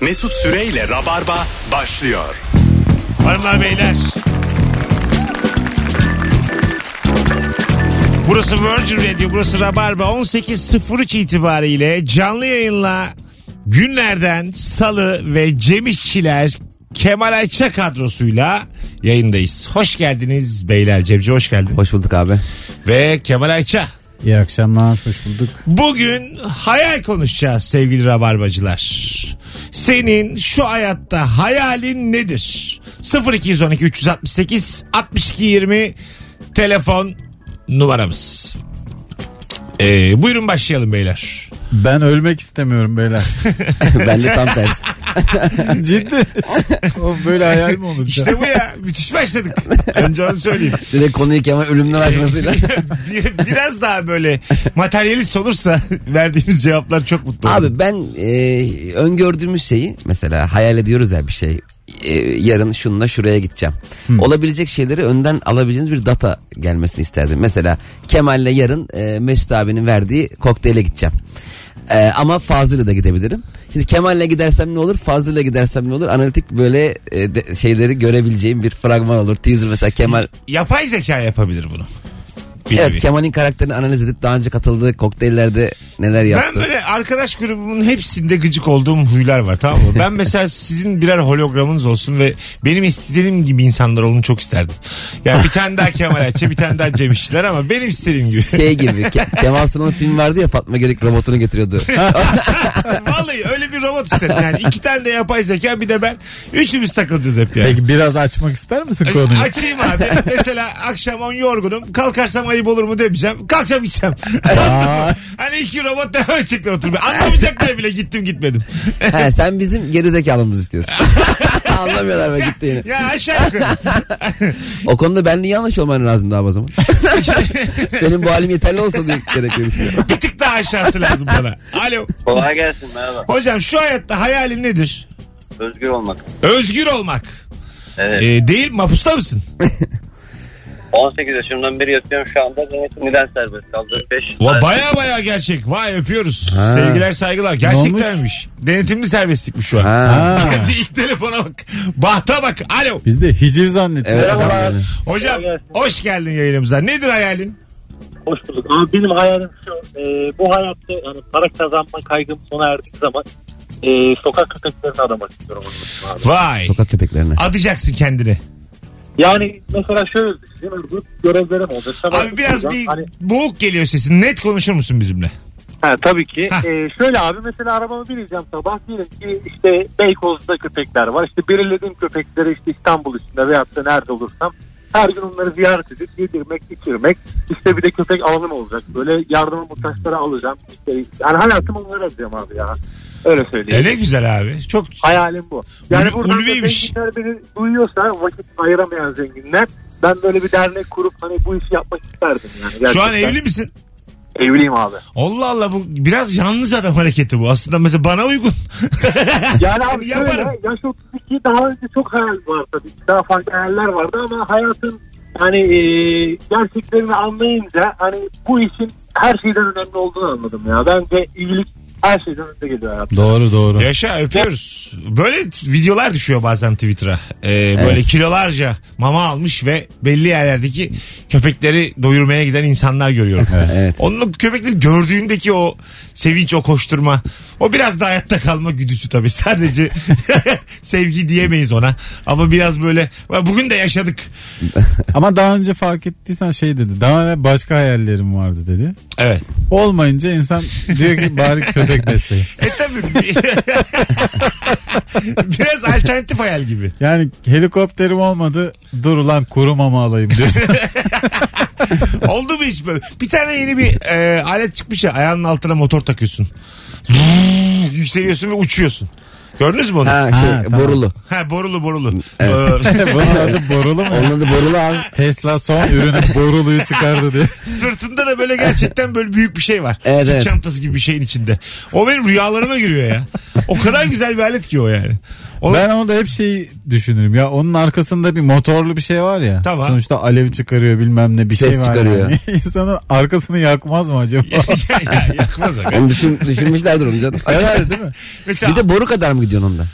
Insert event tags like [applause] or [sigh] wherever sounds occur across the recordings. Mesut Süreyle Rabarba başlıyor. Hanımlar beyler. Burası Virgin Radio, burası Rabarba. 18.03 itibariyle canlı yayınla günlerden Salı ve Cem İşçiler Kemal Ayça kadrosuyla yayındayız. Hoş geldiniz beyler. Cemci hoş geldin. Hoş bulduk abi. Ve Kemal Ayça. İyi akşamlar, hoş bulduk. Bugün hayal konuşacağız sevgili rabarbacılar. Senin şu hayatta hayalin nedir? 0212 368 62 20 telefon numaramız. Ee, buyurun başlayalım beyler. Ben ölmek istemiyorum beyler. [laughs] ben de tam tersi. Ciddi. o böyle hayal mi olur? İşte bu ya müthiş başladık. Önce onu söyleyeyim. Direkt konuyu Kemal ölümden [laughs] açmasıyla. Bir- [laughs] Biraz daha böyle materyalist olursa [laughs] verdiğimiz cevaplar çok mutlu olur. abi ben e, öngördüğümüz şeyi mesela hayal ediyoruz ya bir şey. E, yarın şununla şuraya gideceğim. Hmm. Olabilecek şeyleri önden alabileceğiniz bir data gelmesini isterdim. Mesela Kemal'le yarın e, Mesut abinin verdiği kokteyle gideceğim. E, ama Fazıl'la da gidebilirim. Şimdi Kemal'le gidersem ne olur? Fazıl'la gidersem ne olur? Analitik böyle e, de- şeyleri görebileceğim bir fragman olur. Teaser mesela Kemal Yapay zeka yapabilir bunu. Bir Evet nevi. Kemal'in karakterini analiz edip daha önce katıldığı kokteyllerde neler yaptı. Ben böyle arkadaş grubumun hepsinde gıcık olduğum huylar var tamam [laughs] mı? Ben mesela sizin birer hologramınız olsun ve benim istediğim gibi insanlar olun çok isterdim. Yani bir tane daha Kemal Ayça bir tane daha Cem İşçiler ama benim istediğim gibi. [laughs] Şey gibi Ke- Kemal Sunal'ın film vardı ya Fatma Gerek robotunu getiriyordu. Vallahi öyle bir robot isterim yani. iki tane de yapay zeka bir de ben. Üçümüz takılacağız hep yani. Peki biraz açmak ister misin konuyu? Açayım [laughs] abi. Mesela akşam 10 yorgunum. Kalkarsam ayıp olur mu demeyeceğim. Kalkacağım gideceğim. Aa, [laughs] hani iki robot devam edecekler oturmaya. Anlamayacaklar bile gittim [laughs] gitmedim. He, sen bizim geri zekalımızı istiyorsun. Anlamıyorlar ve gitti yine. Ya aşağı yukarı. O konuda benle yanlış olman lazım daha o zaman. Benim bu halim yeterli olsa diye gerek yok. Bir tık daha aşağısı lazım bana. Alo. Kolay gelsin merhaba. Hocam şu hayatta hayalin nedir? Özgür olmak. Özgür olmak. Evet. Ee, değil mapusta mısın? 18 yaşımdan beri yatıyorum şu anda. Denetim neden serbest kaldı? 5 Va- Baya baya gerçek. Vay öpüyoruz. Ha. Sevgiler saygılar. Gerçektenmiş. Denetimli serbestlikmiş şu an. Ha. [laughs] ha. Kendi ilk telefona bak. Bahta bak. Alo. Biz de hiciv zannettik. Evet, Merhabalar. adam böyle. Hocam Kolay gelsin. hoş geldin yayınımıza. Nedir hayalin? Hoş bulduk. Ama benim hayalim şu. e, bu hayatta yani para kazanma kaygım sona erdiği zaman e, sokak köpeklerini adamak istiyorum. onun için abi. Vay. Sokak köpeklerine. Adayacaksın kendini. Yani mesela şöyle düşünüyorum. bu Görevlerim olacak. Sabah Abi biraz kalkacağım. bir Hani, boğuk geliyor sesin. Net konuşur musun bizimle? ha, tabii ki. Hah. E, şöyle abi mesela arabamı bineceğim sabah. Diyelim ki işte Beykoz'da köpekler var. İşte belirlediğim köpekleri işte İstanbul içinde veyahut da nerede olursam her gün onları ziyaret edip yedirmek, içirmek. İşte bir de köpek alanım olacak. Böyle yardıma muhtaçlara alacağım. İşte, yani hayatımı onlara alacağım abi ya. Öyle söyleyeyim. Öyle E, güzel abi. Çok Hayalim bu. Yani Ul- buradan da ulviymiş. zenginler beni duyuyorsa vakit ayıramayan zenginler ben böyle bir dernek kurup hani bu işi yapmak isterdim yani. Gerçekten. şu an evli misin? Evliyim abi. Allah Allah bu biraz yalnız adam hareketi bu. Aslında mesela bana uygun. [laughs] Yani abi şöyle, [laughs] Yaparım. yaş 32 daha önce çok hayal var tabii. ki. Daha farklı hayaller vardı ama hayatın hani e, gerçeklerini anlayınca hani bu işin her şeyden önemli olduğunu anladım ya. Bence iyilik her şeyden önde geliyor hayatım. Doğru doğru. Yaşa öpüyoruz. Böyle videolar düşüyor bazen Twitter'a. Ee, böyle kilolarca mama almış ve belli yerlerdeki köpekleri doyurmaya giden insanlar görüyorum. Evet. Onun köpekleri gördüğümdeki o sevinç, o koşturma. O biraz da hayatta kalma güdüsü tabii. Sadece [laughs] sevgi diyemeyiz ona. Ama biraz böyle bugün de yaşadık. Ama daha önce fark ettiysen şey dedi. Daha evvel başka hayallerim vardı dedi. Evet. Olmayınca insan diyor ki bari köpek besleyin. E tabii. [laughs] biraz alternatif hayal gibi. Yani helikopterim olmadı. Dur ulan kuru mama alayım diyorsun. Oldu mu hiç böyle? Bir tane yeni bir e, alet çıkmış ya ayağının altına motor takıyorsun. [laughs] Yükseliyorsun ve uçuyorsun. Gördünüz mü onu? Ha, Ha şey Ha, tamam. borulu. borulu borulu. Ee, [laughs] Bunun adı borulu mu? Onun adı borulu abi. Tesla son ürünü boruluyu çıkardı diye. sırtında da böyle gerçekten böyle büyük bir şey var. Evet, Sırt evet. çantası gibi bir şeyin içinde. O benim rüyalarıma giriyor ya. O kadar güzel bir alet ki o yani. Onu- Ben orada hep şey düşünürüm ya onun arkasında bir motorlu bir şey var ya. Tamam. Sonuçta alev çıkarıyor bilmem ne bir Ses şey var. çıkarıyor. Yani. [laughs] İnsanın arkasını yakmaz mı acaba? [laughs] Ya, ya, yakmaz aga. Onu düşün, düşünmüşlerdir onu canım. Herhalde değil mi? Mesela Bir de boru kadar mı gidiyorsun onda?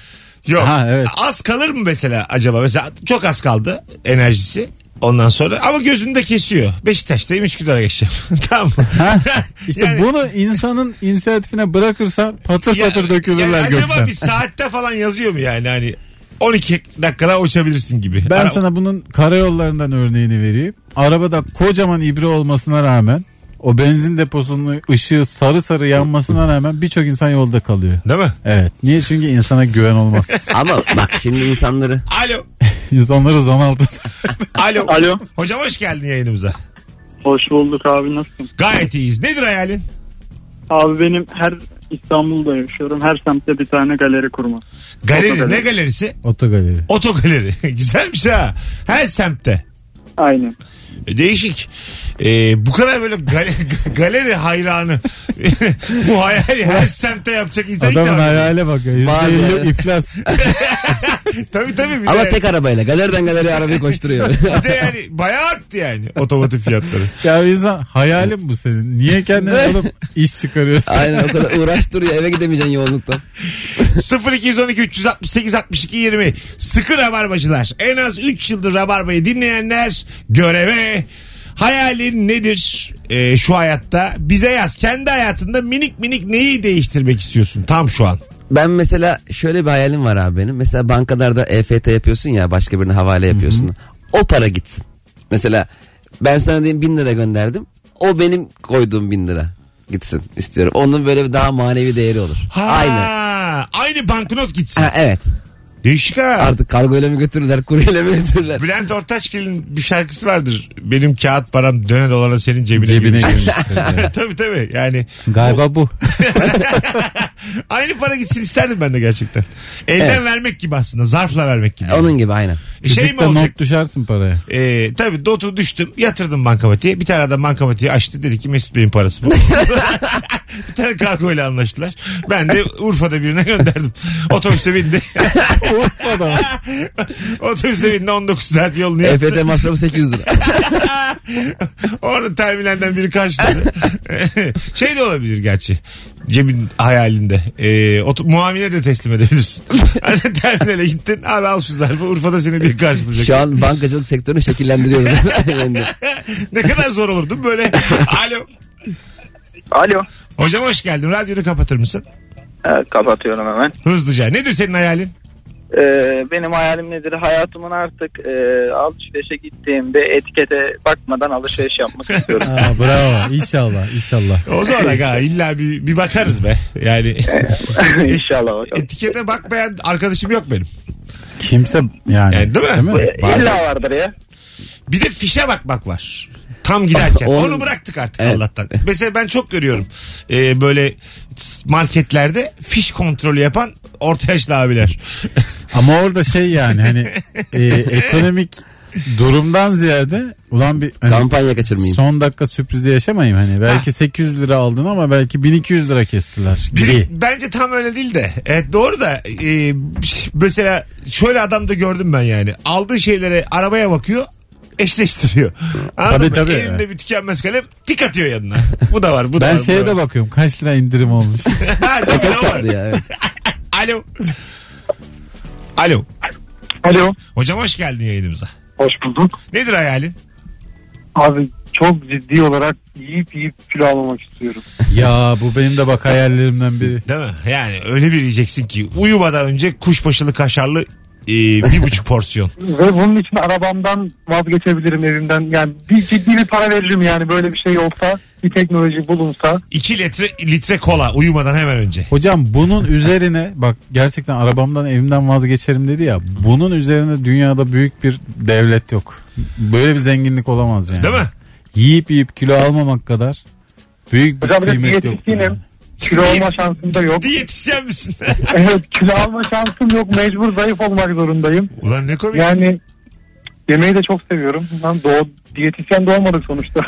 yok. Ha, evet. Az kalır mı mesela acaba? Mesela çok az kaldı enerjisi. Ondan sonra ama gözünde kesiyor. Beşiktaş'tayım Üsküdar'a geçeceğim. [laughs] tamam mı? [laughs] İşte Yani- bunu insanın inisiyatifine bırakırsan patır Ya- patır dökülürler yani gökten. Acaba bir saatte falan yazıyor mu yani hani 12 dakikada uçabilirsin gibi. Ben Ara- sana bunun karayollarından örneğini vereyim. Arabada kocaman ibre olmasına rağmen o benzin deposunun ışığı sarı sarı yanmasına rağmen birçok insan yolda kalıyor. Değil mi? Evet. Niye? Çünkü insana [laughs] güven olmaz. Ama bak şimdi insanları [laughs] Alo. İnsanları zan altında. Alo. Alo. Hocam hoş geldin yayınımıza. Hoş bulduk abi nasılsın? Gayet iyiyiz. Nedir hayalin? Abi benim her İstanbul'da yaşıyorum. Her semtte bir tane galeri kurma. Galeri. Otogaleri. Ne galerisi? Otogaleri. Otogaleri. [laughs] Güzelmiş ha. Her semtte. Aynen. E, Değişik. Ee, bu kadar böyle [laughs] galeri, galeri hayranı. [laughs] bu hayali her semtte yapacak insan ilk Adamın defa- hayale bak. ya. Bazı- %50 iflas. [laughs] Tabii tabii. Bir ama de, tek arabayla galeriden [laughs] galeriye arabayı koşturuyor. bir de yani bayağı arttı yani otomotiv fiyatları. [laughs] ya insan hayalim bu senin. Niye kendini [laughs] alıp iş [laughs] çıkarıyorsun? Aynen o kadar uğraştırıyor eve gidemeyeceksin yoğunluktan. 0212 368 62 20 sıkı rabarbacılar en az 3 yıldır rabarbayı dinleyenler göreve hayalin nedir e, şu hayatta bize yaz kendi hayatında minik minik neyi değiştirmek istiyorsun tam şu an Ben mesela şöyle bir hayalim var abi benim. Mesela bankalarda EFT yapıyorsun ya başka birine havale yapıyorsun. O para gitsin. Mesela ben sana diyeyim bin lira gönderdim. O benim koyduğum bin lira gitsin istiyorum. Onun böyle bir daha manevi değeri olur. Aynen. aynı aynı banknot gitsin Ha, evet. değişik ha Artık kargoyla mı götürürler, kuryeyle mi götürürler? Bülent Ortaçgil'in bir şarkısı vardır benim kağıt param döne dolana senin cebine, [laughs] Cebine girmiş. girmiş. [laughs] tabii tabii yani [laughs] Şey [laughs] Galiba bu. aynı para gitsin isterdim ben de gerçekten elden Evet. vermek gibi aslında zarfla vermek gibi Onun gibi [laughs] aynen. E, şey mi Fizikte olacak not düşersin [laughs] paraya. Ee, tabii dotu düştüm yatırdım bankamatiğe. Bir tane adam bankamatiği açtı dedi ki Mesut Bey'in parası [laughs] bu. [laughs] bir tane kargoyla anlaştılar. Ben de Urfa'da birine gönderdim. Otobüse bindi. [laughs] Urfa'da. Otobüse bindi 19 saat yolunu yaptı. EFT E masrafı 800 lira. Orada terminalden biri karşıladı. şey de olabilir gerçi. Cebin hayalinde. Ee, otu- muamele de teslim edebilirsin. Hani terminale gittin. Abi al şu zarfı. Urfa'da seni biri karşılayacak. Şu an bankacılık sektörünü şekillendiriyoruz. [laughs] Yani Ne kadar zor olur değil mi böyle? Alo. Alo. Hocam hoş geldin. Radyonu kapatır mısın? Evet, kapatıyorum hemen. Hızlıca. Nedir senin hayalin? Ee, benim hayalim nedir? Hayatımın artık e, alışverişe gittiğimde etikete bakmadan alışveriş yapmak istiyorum. [laughs] Aa, bravo. İnşallah. İnşallah. O zor aga. İlla bir, bir bakarız be. Yani [laughs] İnşallah bakalım. etikete bakmayan arkadaşım yok benim. Kimse yani. Yani değil mi? Ee, İlla vardır ya. Bir de fişe bakmak var. Tam giderken. Oğlum- Onu bıraktık artık Evet. Allah'tan. Mesela ben çok görüyorum. Ee, böyle marketlerde fiş kontrolü yapan orta yaşlı [laughs] abiler. Ama orada şey yani hani [laughs] e, ekonomik durumdan ziyade ulan bir hani kampanya kaçırmayayım. son dakika sürprizi yaşamayayım hani. Belki 800 lira aldın ama belki 1200 lira kestiler Biri- [laughs] gibi. bence tam öyle değil de. Evet doğru da e, mesela şöyle adam da gördüm ben yani. Aldığı şeylere arabaya bakıyor eşleştiriyor. Anladın Tabii, mı? tabii. Elinde bir tükenmez kalem tik atıyor yanına. Bu da var bu da Ben var. bu şeye da var. de bakıyorum kaç lira indirim [laughs] olmuş. Ha, değil mi? Çok O var. tatlı ya. evet. Alo. Alo. Alo. Hocam hoş geldin yayınımıza. Hoş bulduk. Nedir hayalin? Abi çok ciddi olarak yiyip yiyip kilo almak istiyorum. ya bu benim de bak hayallerimden biri. Değil mi? Yani öyle bir yiyeceksin ki uyumadan önce kuşbaşılı kaşarlı e, bir buçuk porsiyon. Ve bunun için arabamdan vazgeçebilirim evimden. Yani bir ciddi bir para veririm yani böyle bir şey olsa. Bir teknoloji bulunsa. 2 litre, litre kola uyumadan hemen önce. Hocam bunun üzerine bak gerçekten arabamdan evimden vazgeçerim dedi ya. Bunun üzerine dünyada büyük bir devlet yok. Böyle bir zenginlik olamaz yani. Değil mi? Yiyip yiyip kilo almamak kadar büyük bir Hocam bir de kıymet yok. diyetisyenim. Kilo alma şansım da yok. Diyetisyen misin? [laughs] Evet kilo alma şansım yok. Mecbur zayıf olmak zorundayım. [laughs] Ulan ne komik. Yani Yemeği de çok seviyorum. Ben doğ, diyetisyen de olmadık [laughs] sonuçta.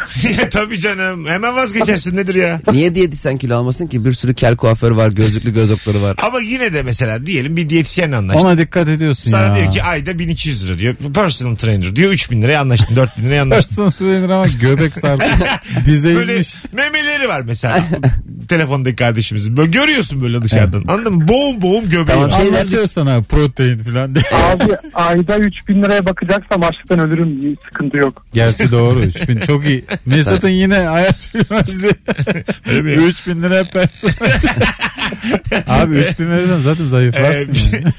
Tabii canım. Hemen vazgeçersin nedir ya? Niye diyetisyen kilo almasın ki? Bir sürü kel kuaförü var, gözlüklü göz doktoru var. Ama yine de mesela diyelim bir diyetisyenle anlaştın. Ona dikkat ediyorsun Sana ya. diyor [laughs] ki ayda 1200 lira diyor. Personal trainer diyor 3000 liraya anlaştın 4000 liraya [laughs] anlaştın. Personal trainer ama [laughs] göbek sarkıyor. Dize Böyle inmiş. memeleri var mesela telefondaki kardeşimizin. Böyle görüyorsun böyle dışarıdan. Anladın mı? Boğum boğum göbeği Tamam, var. şey- Anlatıyor sana protein falan diye. Abi ayda 3000 liraya bakacaksam açlıktan ölürüm. İyi, Sıkıntı yok. Gerçi doğru 3000 çok iyi. Mesut'un yine hayat [laughs] bilmezdi. Öyle mi? 3000 lira [laughs] personel. Abi 3000 verirsen zaten zayıflarsın. Ee, bir şey- yani.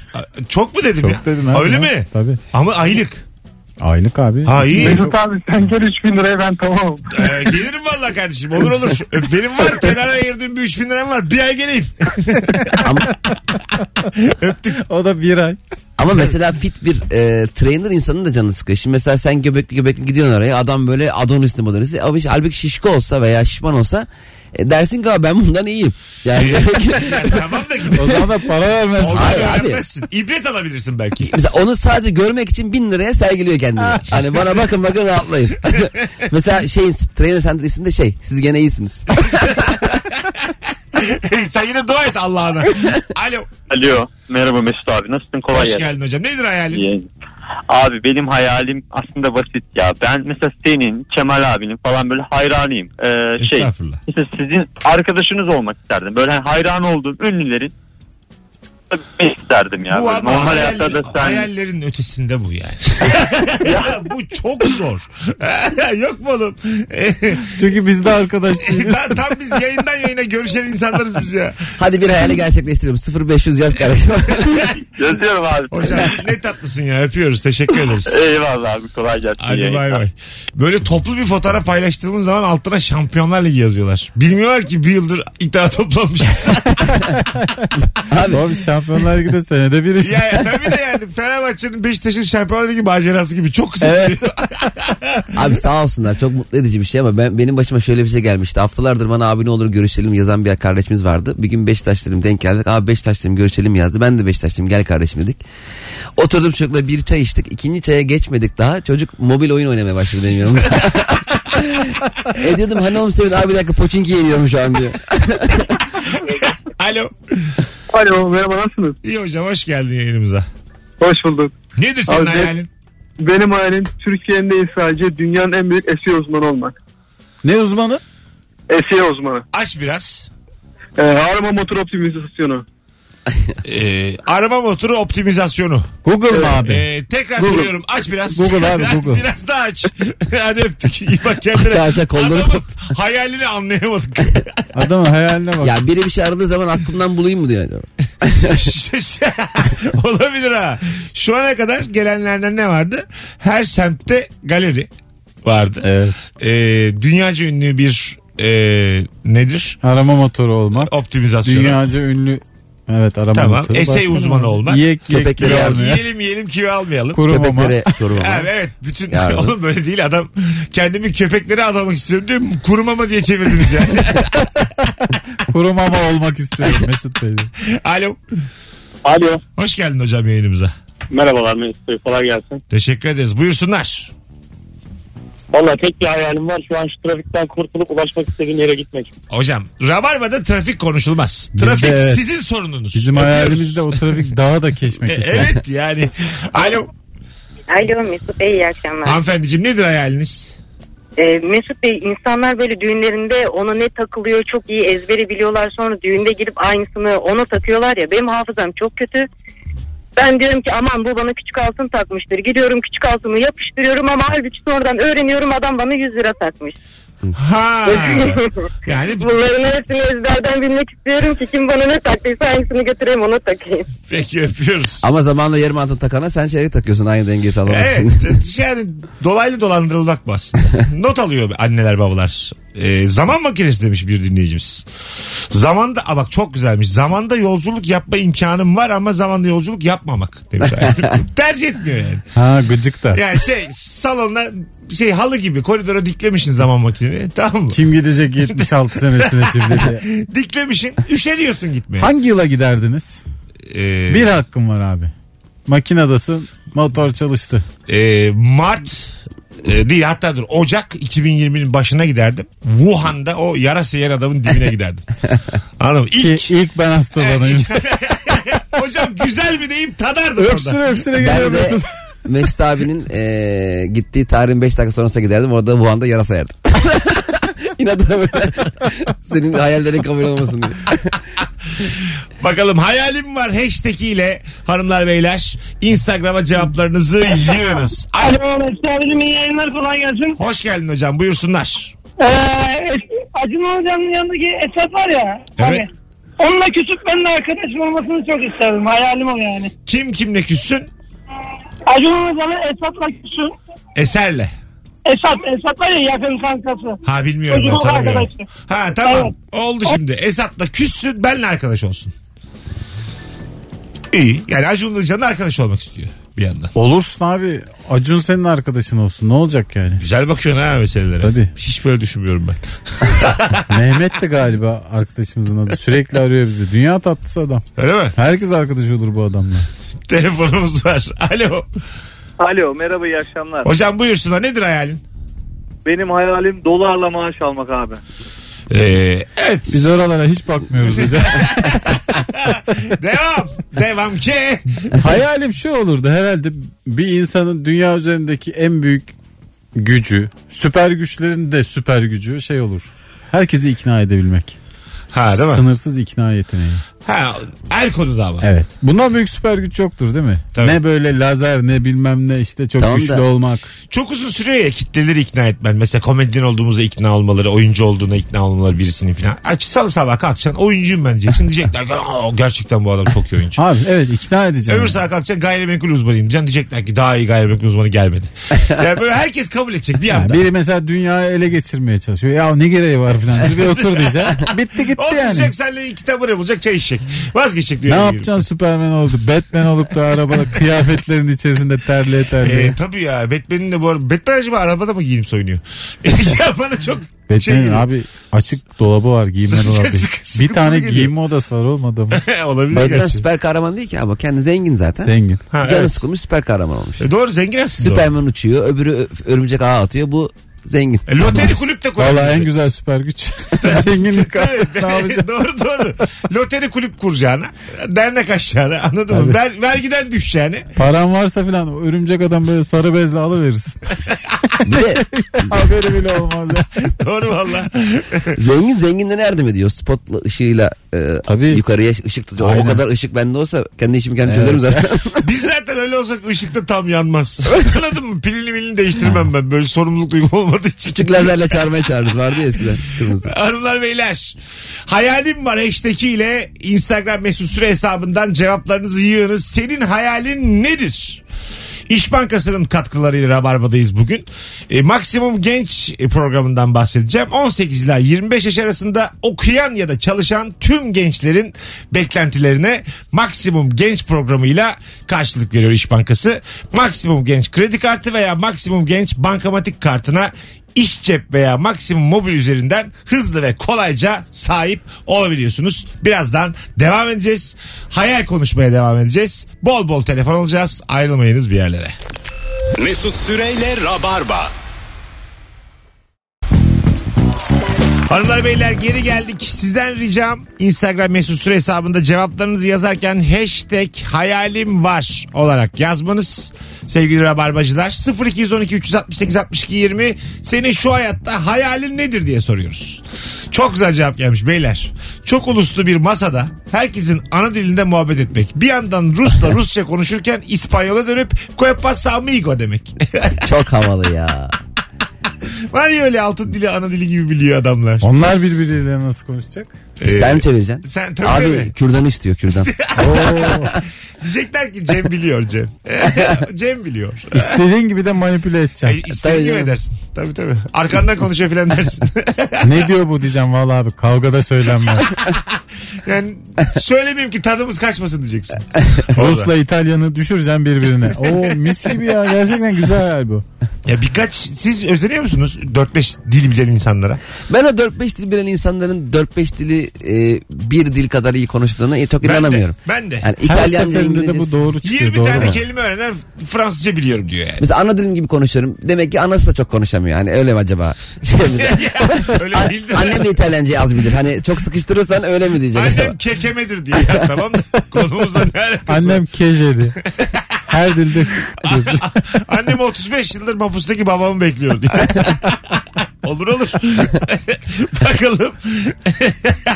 Çok mu dedim ya? Çok dedin abi. Öyle ya. mi? Tabii. Ama aylık. Aylık abi. Ha iyi. Mesut abi sen gel 3000 liraya ben tamam. Ee, gelirim valla kardeşim. Olur olur. e, Benim var kenara ayırdığım bir 3000 liram var. Bir ay geleyim. [laughs] O da bir ay. Ama mesela fit bir e, trainer insanın da canı sıkıyor. Şimdi mesela sen göbekli göbekli gidiyorsun oraya. Adam böyle adonisli modelisi. Abi işte halbuki şişko olsa veya şişman olsa e, dersin ki "Aa, ben bundan iyiyim. Yani Ya tamam da gidelim. O zaman da para [laughs] vermezsin. Olmayı Hayır abi. öğrenmezsin. İbret alabilirsin belki. [laughs] mesela onu sadece görmek için bin liraya sergiliyor kendini. hani bana bakın bakın rahatlayın. mesela şey trainer center ismi de şey siz gene iyisiniz. Sen yine dua et Allah'ına. Alo. Alo. Merhaba Mesut abi. Nasılsın? Kolay Hoş gelsin. geldin hocam. Nedir hayalin? İyi. Abi benim hayalim aslında basit ya. Ben mesela senin, Kemal abinin falan böyle hayranıyım. Ee, şey, Estağfurullah. mesela sizin arkadaşınız olmak isterdim. Böyle hayran olduğum ünlülerin Tabii isterdim ya. bu Böyle ama normal hayal- hayatta da sen hayallerin ötesinde bu [laughs] yani. ya bu çok zor. [laughs] Yok mu oğlum? [laughs] Çünkü biz de arkadaş değiliz. tam, tam biz yayından yayına görüşen insanlarız biz ya. Hadi bir hayali gerçekleştirelim. 0500 yaz kardeşim. yazıyorum abi. [laughs] Hocam ne tatlısın ya. Öpüyoruz. Teşekkür ederiz. Eyvallah abi kolay gelsin. Hadi İyi bay yayınlar. bay. Böyle toplu bir fotoğraf paylaştığımız zaman altına Şampiyonlar Ligi yazıyorlar. Bilmiyorlar ki bir yıldır ilk daha toplanmışız. Abi şampiyonlar Ligi de senede bir [laughs] işte. ya, ya tabii de yani Fenerbahçe'nin Beşiktaş'ın Şampiyonlar Ligi macerası gibi çok kısa Evet. sürüyor. [laughs] Abi sağ olsunlar çok mutlu edici bir şey ama ben benim başıma şöyle bir şey gelmişti. Haftalardır bana abi ne olur görüşelim yazan bir kardeşimiz vardı. Bir gün Beşiktaş dedim denk geldik. Abi Beşiktaş dedim görüşelim yazdı. Ben de Beşiktaş dedim gel kardeşim dedik. Oturdum çocukla bir çay içtik. İkinci çaya geçmedik daha. Çocuk mobil oyun oynamaya başladı benim yanımda. [laughs] e diyordum hani oğlum Sevin abi bir dakika Poçinki yeniyorum şu an diyor. Alo. Alo merhaba nasılsınız? İyi hocam hoş geldin yayınımıza. Hoş bulduk. Nedir senin Abi, hayalin? Benim hayalim Türkiye'nin değil sadece dünyanın en büyük SEO uzmanı olmak. Ne uzmanı? SEO uzmanı. Aç biraz. Ee, arama motor optimizasyonu. Ee, arama motoru optimizasyonu. Google mu abi? Ee, tekrar Google. soruyorum. Aç [laughs] biraz. Google abi, Google. biraz daha aç. [laughs] Hadi öptük. İyi bak kendine. Aça aça kolları Adamın kop- hayalini anlayamadık. [laughs] Adamın hayaline bak. ya biri bir şey aradığı zaman aklımdan bulayım mı diyor. Olabilir ha. Şu ana kadar gelenlerden ne vardı? Her semtte galeri vardı. Evet. Ee, dünyaca ünlü bir e, nedir? Arama motoru olmak. Optimizasyonu. Dünyaca ünlü Evet arama Tamam, motoru. essay Başka uzmanı ne? olmak. Yiyek yiyek Köpekleri kilo yardım- almaya. Yiyelim yiyelim kilo almayalım. Kurumama. Köpeklere korumama. Abi [laughs] evet bütün [laughs] Yardım. oğlum böyle değil adam kendimi köpeklere adamak istiyorum diyor kurumama diye çevirdiniz yani. [laughs] Kurumama olmak istiyorum [laughs] Mesut Bey. Alo Alo hoş geldin hocam yayınımıza. merhabalar Mesut Bey kolay gelsin. Teşekkür ederiz buyursunlar. Valla tek bir hayalim var şu an şu trafikten kurtulup ulaşmak istediğim yere gitmek. Hocam Rabarba'da trafik konuşulmaz. Bizde Trafik evet. sizin sorununuz. Bizim Öpüyoruz. hayalimizde o trafik [laughs] daha da keşmek E, evet [laughs] yani. Alo Alo Mesut Bey iyi akşamlar. hanımefendiciğim nedir hayaliniz? Ee, Mesut Bey insanlar böyle düğünlerinde ona ne takılıyor çok iyi ezbere biliyorlar sonra düğünde girip aynısını ona takıyorlar ya benim hafızam çok kötü. Ben diyorum ki aman bu bana küçük altın takmıştır. Gidiyorum küçük altını yapıştırıyorum ama halbuki sonradan öğreniyorum adam bana 100 lira takmış. [laughs] Ha. Hani [laughs] yani Bunların hepsini ezberden bilmek istiyorum ki kim bana ne taktıysa aynısını götüreyim ona takayım. peki öpüyoruz. Ama zamanla yarım altın takana sen çeyrek takıyorsun aynı dengeyi sağlamak için. Evet yani dolaylı dolandırılmak mı [laughs] aslında? Not alıyor anneler babalar. Ee, zaman makinesi demiş bir dinleyicimiz. Zamanda a bak çok güzelmiş. Zamanda yolculuk yapma imkanım var ama zamanda yolculuk yapmamak [laughs] demiş. Tercih etmiyor yani. Ha gıcık da. Yani şey salonda şey halı gibi koridora diklemişsin zaman makineni tamam mı? Kim gidecek [laughs] 76 senesine şimdi diye. Diklemişsin üşeniyorsun gitmeye. Hangi yıla giderdiniz? Ee, Bir hakkım var abi. Makinadasın. Motor çalıştı. Ee, Mart e, değil hatta dur Ocak 2020'nin başına giderdim. Wuhan'da o yarası yer adamın dibine giderdim. Anladın mı? Ki İlk, ilk ben hastalanayım. [laughs] hocam güzel bir deyim tadardım öksüre orada. öksüre Ben geliyor de Mesut. [laughs] Mesut abinin e, gittiği tarihin 5 dakika sonrasına giderdim. Orada Wuhan'da yara sayardım. [laughs] İnadına böyle [laughs] senin hayallerin kabul olmasın diye. Bakalım hayalim var hashtag ile hanımlar beyler. Instagram'a cevaplarınızı yığınız. Ay, Alo Mesut abicim iyi yayınlar kolay gelsin. hoş geldin hocam buyursunlar. Ee, Es- Acun Hoca'nın yanındaki Esat var ya. Evet. Hani, onunla küçük benimle arkadaşım olmasını çok isterdim. Hayalim o yani. Kim kimle küssün? Acun Hoca'nın Esat'la küçük. Eserle. Esat, Esat var ya yakın kankası. Ha bilmiyorum ben Çocuğun tanımıyorum. arkadaşı. Ha tamam oldu O- şimdi. Esat'la küssün benle arkadaş olsun. İyi yani Acun Ilıcalı'nın arkadaş olmak istiyor bir yandan. Olursun abi. Acun senin arkadaşın olsun. Ne olacak yani? Güzel bakıyorsun ha meselelere. Tabii. Hiç böyle düşünmüyorum ben. Mehmet de galiba arkadaşımızın adı. Sürekli arıyor bizi. Dünya tatlısı adam. Öyle mi? Herkes arkadaş olur bu adamla. Telefonumuz var. [laughs] Alo. Alo merhaba iyi akşamlar. Hocam buyursunlar nedir hayalin? Benim hayalim dolarla maaş almak abi. Ee, evet. Biz oralara hiç bakmıyoruz hocam. Devam. Devam ki. Hayalim şu olurdu herhalde bir insanın dünya üzerindeki en büyük gücü, süper güçlerin de süper gücü şey olur. Herkesi ikna edebilmek. Ha değil mi? Sınırsız ikna yeteneği. Ha, her konuda ama. Evet. Bundan büyük süper güç yoktur değil mi? Tabii. Ne böyle lazer ne bilmem ne işte çok Tamam da- güçlü olmak. Çok uzun sürüyor ya kitleleri ikna etmen. Mesela komedyen olduğumuza ikna olmaları, oyuncu olduğuna ikna olmaları birisinin falan. Aç salı sabah kalkacaksın oyuncuyum ben diyeceksin. Diyecekler ki "Aa, gerçekten bu adam çok iyi oyuncu. Abi [laughs] evet ikna edeceğim. Öbür sabah kalkacaksın gayrimenkul uzmanıyım diyeceksin. Diyecekler ki daha iyi gayrimenkul uzmanı [laughs] gelmedi. Yani böyle herkes kabul edecek bir Yani anda. biri mesela dünyayı ele geçirmeye çalışıyor. Ya ne gereği var filan. Dur Bir [laughs] otur diyeceğim. Bitti gitti O yani. diyecek seninle iki tabure bulacak çay içecek. Vazgeçecek Ne diyor. yapacaksın Superman oldu. Batman olup da arabada kıyafetlerin içerisinde terliye terliye. Ee, tabii ya Batman'in de bu arada Batman acaba arabada mı giyinip soyunuyor? [laughs] ya bana çok Batman'in şey geliyor. abi açık dolabı var giyimler Sıkı- dolabı. sıkı- sıkı- bir tane geliyor. giyinme odası var oğlum adamın. [laughs] Olabilir Batman gerçi. süper kahraman değil ki ama kendi zengin zaten. Zengin. Ha, Canı evet. sıkılmış süper kahraman olmuş. E, Doğru zengin aslında. o. Süperman uçuyor öbürü ö- örümcek ağa atıyor bu zengin. E, loteri kulüp de kurabilir. Valla en güzel [laughs] süper güç. [laughs] Zenginlik abi. Evet, [laughs] [laughs] ne yapacaksın? doğru doğru. Loteri kulüp kuracağına, dernek açacağına anladın mı? Tabii. Ver, vergiden düşeceğine. Paran varsa filan o örümcek adam böyle sarı bezle alıverirsin. [laughs] Bir de Haberi bile olmaz ya. Doğru valla. zengin zenginlere yardım ediyor. Spotla ışığıyla e, Tabii. yukarıya ışık tutuyor. Aynen. O kadar ışık bende olsa kendi işimi kendim çözerim zaten. [laughs] Biz zaten öyle olsak ışıkta tam yanmaz. Anladın mı? Pilini milini değiştirmem ben. Böyle sorumluluk duygum olmadığı için. Küçük lazerle çağırmaya çağırırız vardı ya eskiden kırmızı. [laughs] Hanımlar beyler hayalim var hashtag ile Instagram mesut süre hesabından cevaplarınızı yığınız. Senin hayalin nedir? İş Bankası'nın katkılarıyla Rabarba'dayız bugün. E, maksimum Genç e, programından bahsedeceğim. 18 ila 25 yaş arasında okuyan ya da çalışan tüm gençlerin beklentilerine Maksimum Genç programıyla karşılık veriyor İş Bankası. Maksimum Genç kredi kartı veya Maksimum Genç bankamatik kartına İş cep veya maksimum mobil üzerinden hızlı ve kolayca sahip olabiliyorsunuz. Birazdan devam edeceğiz. Hayal konuşmaya devam edeceğiz. Bol bol telefon alacağız. Ayrılmayınız bir yerlere. Mesut Süreyle Rabarba. Hanımlar beyler geri geldik. Sizden ricam Instagram mesut süre hesabında cevaplarınızı yazarken hashtag hayalim var olarak yazmanız. Sevgili Rabarbacılar 0212 368 62 20 senin şu hayatta hayalin nedir diye soruyoruz. Çok güzel cevap gelmiş beyler. Çok uluslu bir masada herkesin ana dilinde muhabbet etmek. Bir yandan Rus'la Rusça konuşurken İspanyol'a dönüp Cuepas amigo demek. [laughs] Çok havalı ya. Var ya öyle altın dili ana dili gibi biliyor adamlar. Onlar birbiriyle nasıl konuşacak? sen çevireceksin. E, sen tabii Abi tabii. kürdan [laughs] istiyor kürdan. Diyecekler ki Cem biliyor Cem. [laughs] Cem biliyor. İstediğin gibi de manipüle E, edeceksin. İstediğin gibi canım. edersin. Tabii tabii. Arkandan konuşuyor filan dersin. ne diyor bu diyeceğim valla abi kavgada söylenmez. [laughs] yani söylemeyeyim ki tadımız kaçmasın diyeceksin. Orada. Rus'la İtalyan'ı düşüreceğim birbirine. Oo mis gibi ya gerçekten güzel hal bu. Ya birkaç siz özeniyor musunuz 4-5 dil bilen insanlara? Ben o 4-5 dil bilen insanların 4-5 dili e, bir dil kadar iyi konuştuğuna e, çok Ben de, inanamıyorum. ben de. Yani Her İtalyanca, seferinde de İngilizce. bu doğru çıkıyor. 20 doğru tane mu? kelime öğrenen Fransızca biliyorum diyor yani. Mesela ana dilim gibi konuşuyorum. Demek ki anası da çok konuşamıyor. Hani öyle [laughs] mi acaba? Şey mesela- Öyle A- değil de. Annem de İtalyancayı az bilir. Hani çok sıkıştırırsan öyle mi diyecek acaba? [laughs] Annem kekemedir diye ya, tamam mı? Konumuzla ne alakası [laughs] Annem kejedi. Her dilde diyor. Annem 35 yıldır mapustaki babamı bekliyor [laughs] diye. olur olur. [laughs] Bakalım. [laughs]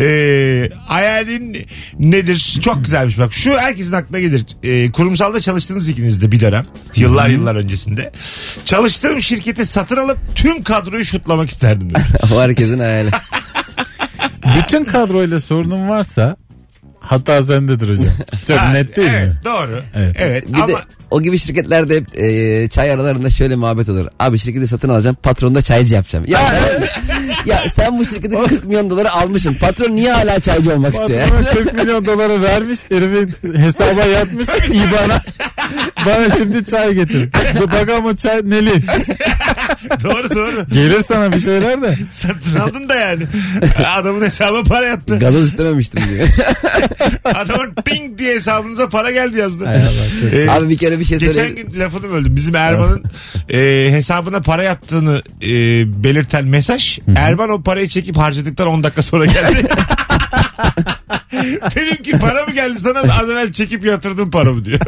ee, hayalin nedir? Çok güzelmiş bak. Şu herkesin aklına gelir. Ee, kurumsalda çalıştınız ikiniz de bir dönem. Yıllar yıllar öncesinde. Çalıştığım şirketi satın alıp tüm kadroyu şutlamak isterdim. [laughs] demiş. o herkesin hayali. Bütün kadroyla sorunum varsa hata zendedir hocam. Çok Ha, net değil evet, mi? Doğru. Evet. Evet. Bir ama [laughs] de o gibi şirketlerde hep e, çay aralarında şöyle muhabbet olur. Abi şirketi satın alacağım patron da çaycı yapacağım. Ya, [laughs] ya sen bu şirketi 40 milyon dolara almışsın. Patron niye hala çaycı olmak istiyor ya? Patrona 40 milyon dolara vermiş herimin hesaba yatmış İBAN'a. Bana şimdi çay getir. Bu Bak ama çay neli. doğru doğru. Gelir sana bir şeyler de. Satın aldın da [laughs] yani. Adamın hesabına para yattı. Gazoz istememiştim [laughs] diyor. Adamın ping diye hesabınıza para geldi yazdı. Hay Allah, çok- Ee, Abi bir kere bir şey Geçen söyle. gün lafını böldüm. Bizim Erman'ın e, hesabına para yattığını e, belirten mesaj. Erman o parayı çekip harcadıktan 10 dakika sonra [laughs] geldi. Dedim ki para mı geldi sana az evvel çekip yatırdın para mı diyor.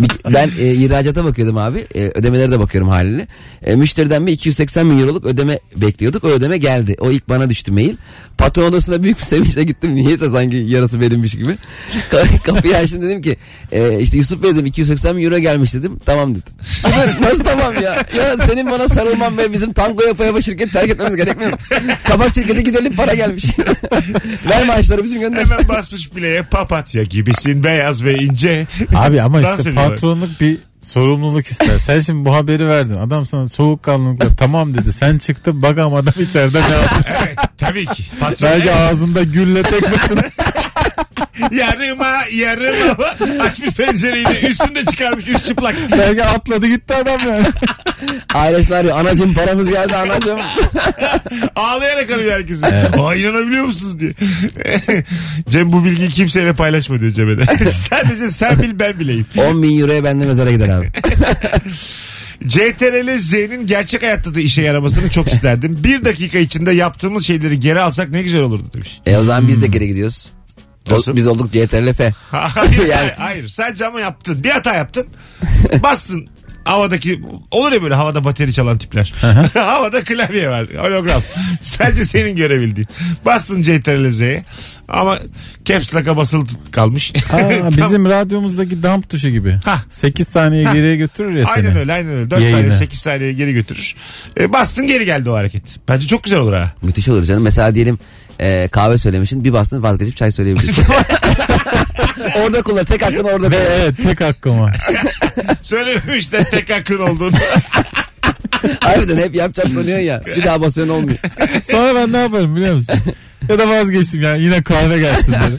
Bir- Ben e, ihracata bakıyordum abi. E, ödemelere de bakıyorum haliyle. E, müşteriden bir 280 milyon euroluk ödeme bekliyorduk. O ödeme geldi. O ilk bana düştü mail. Patron odasına büyük bir sevinçle gittim. Niyeyse sanki yarası benimmiş gibi. [laughs] Ka- Kapıyı açtım dedim ki e, işte Yusuf Bey dedim 280 milyon euro gelmiş dedim. Tamam dedi. Ulan [laughs] Nasıl tamam ya? Ya senin bana sarılman ve bizim tango yapa yapa şirketi terk etmemiz gerekmiyor mu? Kapat şirketi gidelim para gelmiş. [laughs] Ver maaşları bizim gönder. Hemen basmış bileye papatya gibisin beyaz ve ince. Abi ama Dans işte ediyorlar. patronluk bir sorumluluk ister. Sen şimdi bu haberi verdin. Adam sana soğukkanlılıkla tamam dedi. Sen çıktın bak ama adam içeride ne yaptı? [laughs] Evet tabii ki. Patron Belki ağzında gülle tek başına. yarıma yarıma açmış pencereyi de üstünde çıkarmış üst çıplak. Belki atladı gitti adam yani. Ailesini arıyor. Anacım paramız geldi anacım. Ağlayarak arıyor herkesi. Aa inanabiliyor musunuz diye. [laughs] Cem bu bilgiyi kimseyle paylaşma diyor Cem'e de. [laughs] Sadece sen bil ben bileyim. 10 bin euroya ben de mezara gider abi. CTRL Z'nin gerçek hayatta da işe yaramasını çok isterdim. Bir dakika içinde yaptığımız şeyleri geri alsak ne güzel olurdu demiş. [laughs] E o zaman biz de geri gidiyoruz. O- Hmm. Nasıl? biz olduk CTRLF. Hayır, Yani- hayır sadece ama yaptın. Bir hata yaptın. Bastın havadaki olur ya böyle havada bateri çalan tipler. [laughs] havada klavye var. Hologram. Sadece senin görebildiğin. Bastın CTRL Z'ye ama caps lock'a basılı tut- kalmış. [laughs] Aa, bizim radyomuzdaki dump tuşu gibi. Hah. 8 saniye geriye götürür ya E seni. Aynen öyle aynen öyle. 4 Yayına. saniye 8 saniye geri götürür. E, bastın geri geldi o hareket. Bence çok güzel olur ha. Müthiş olur canım. Mesela diyelim e, kahve söylemişsin bir bastın vazgeçip [laughs] çay söyleyebilirsin. [laughs] orada kullan. Tek hakkın orada Ve kullan. evet tek hakkım var. Söylememişler tek hakkın olduğunu. Harbiden hep yapacağım sanıyorsun ya. Bir daha basıyorsun olmuyor. Sonra ben ne yaparım biliyor musun? Ya da vazgeçtim yani yine kahve gelsin [laughs] dedim.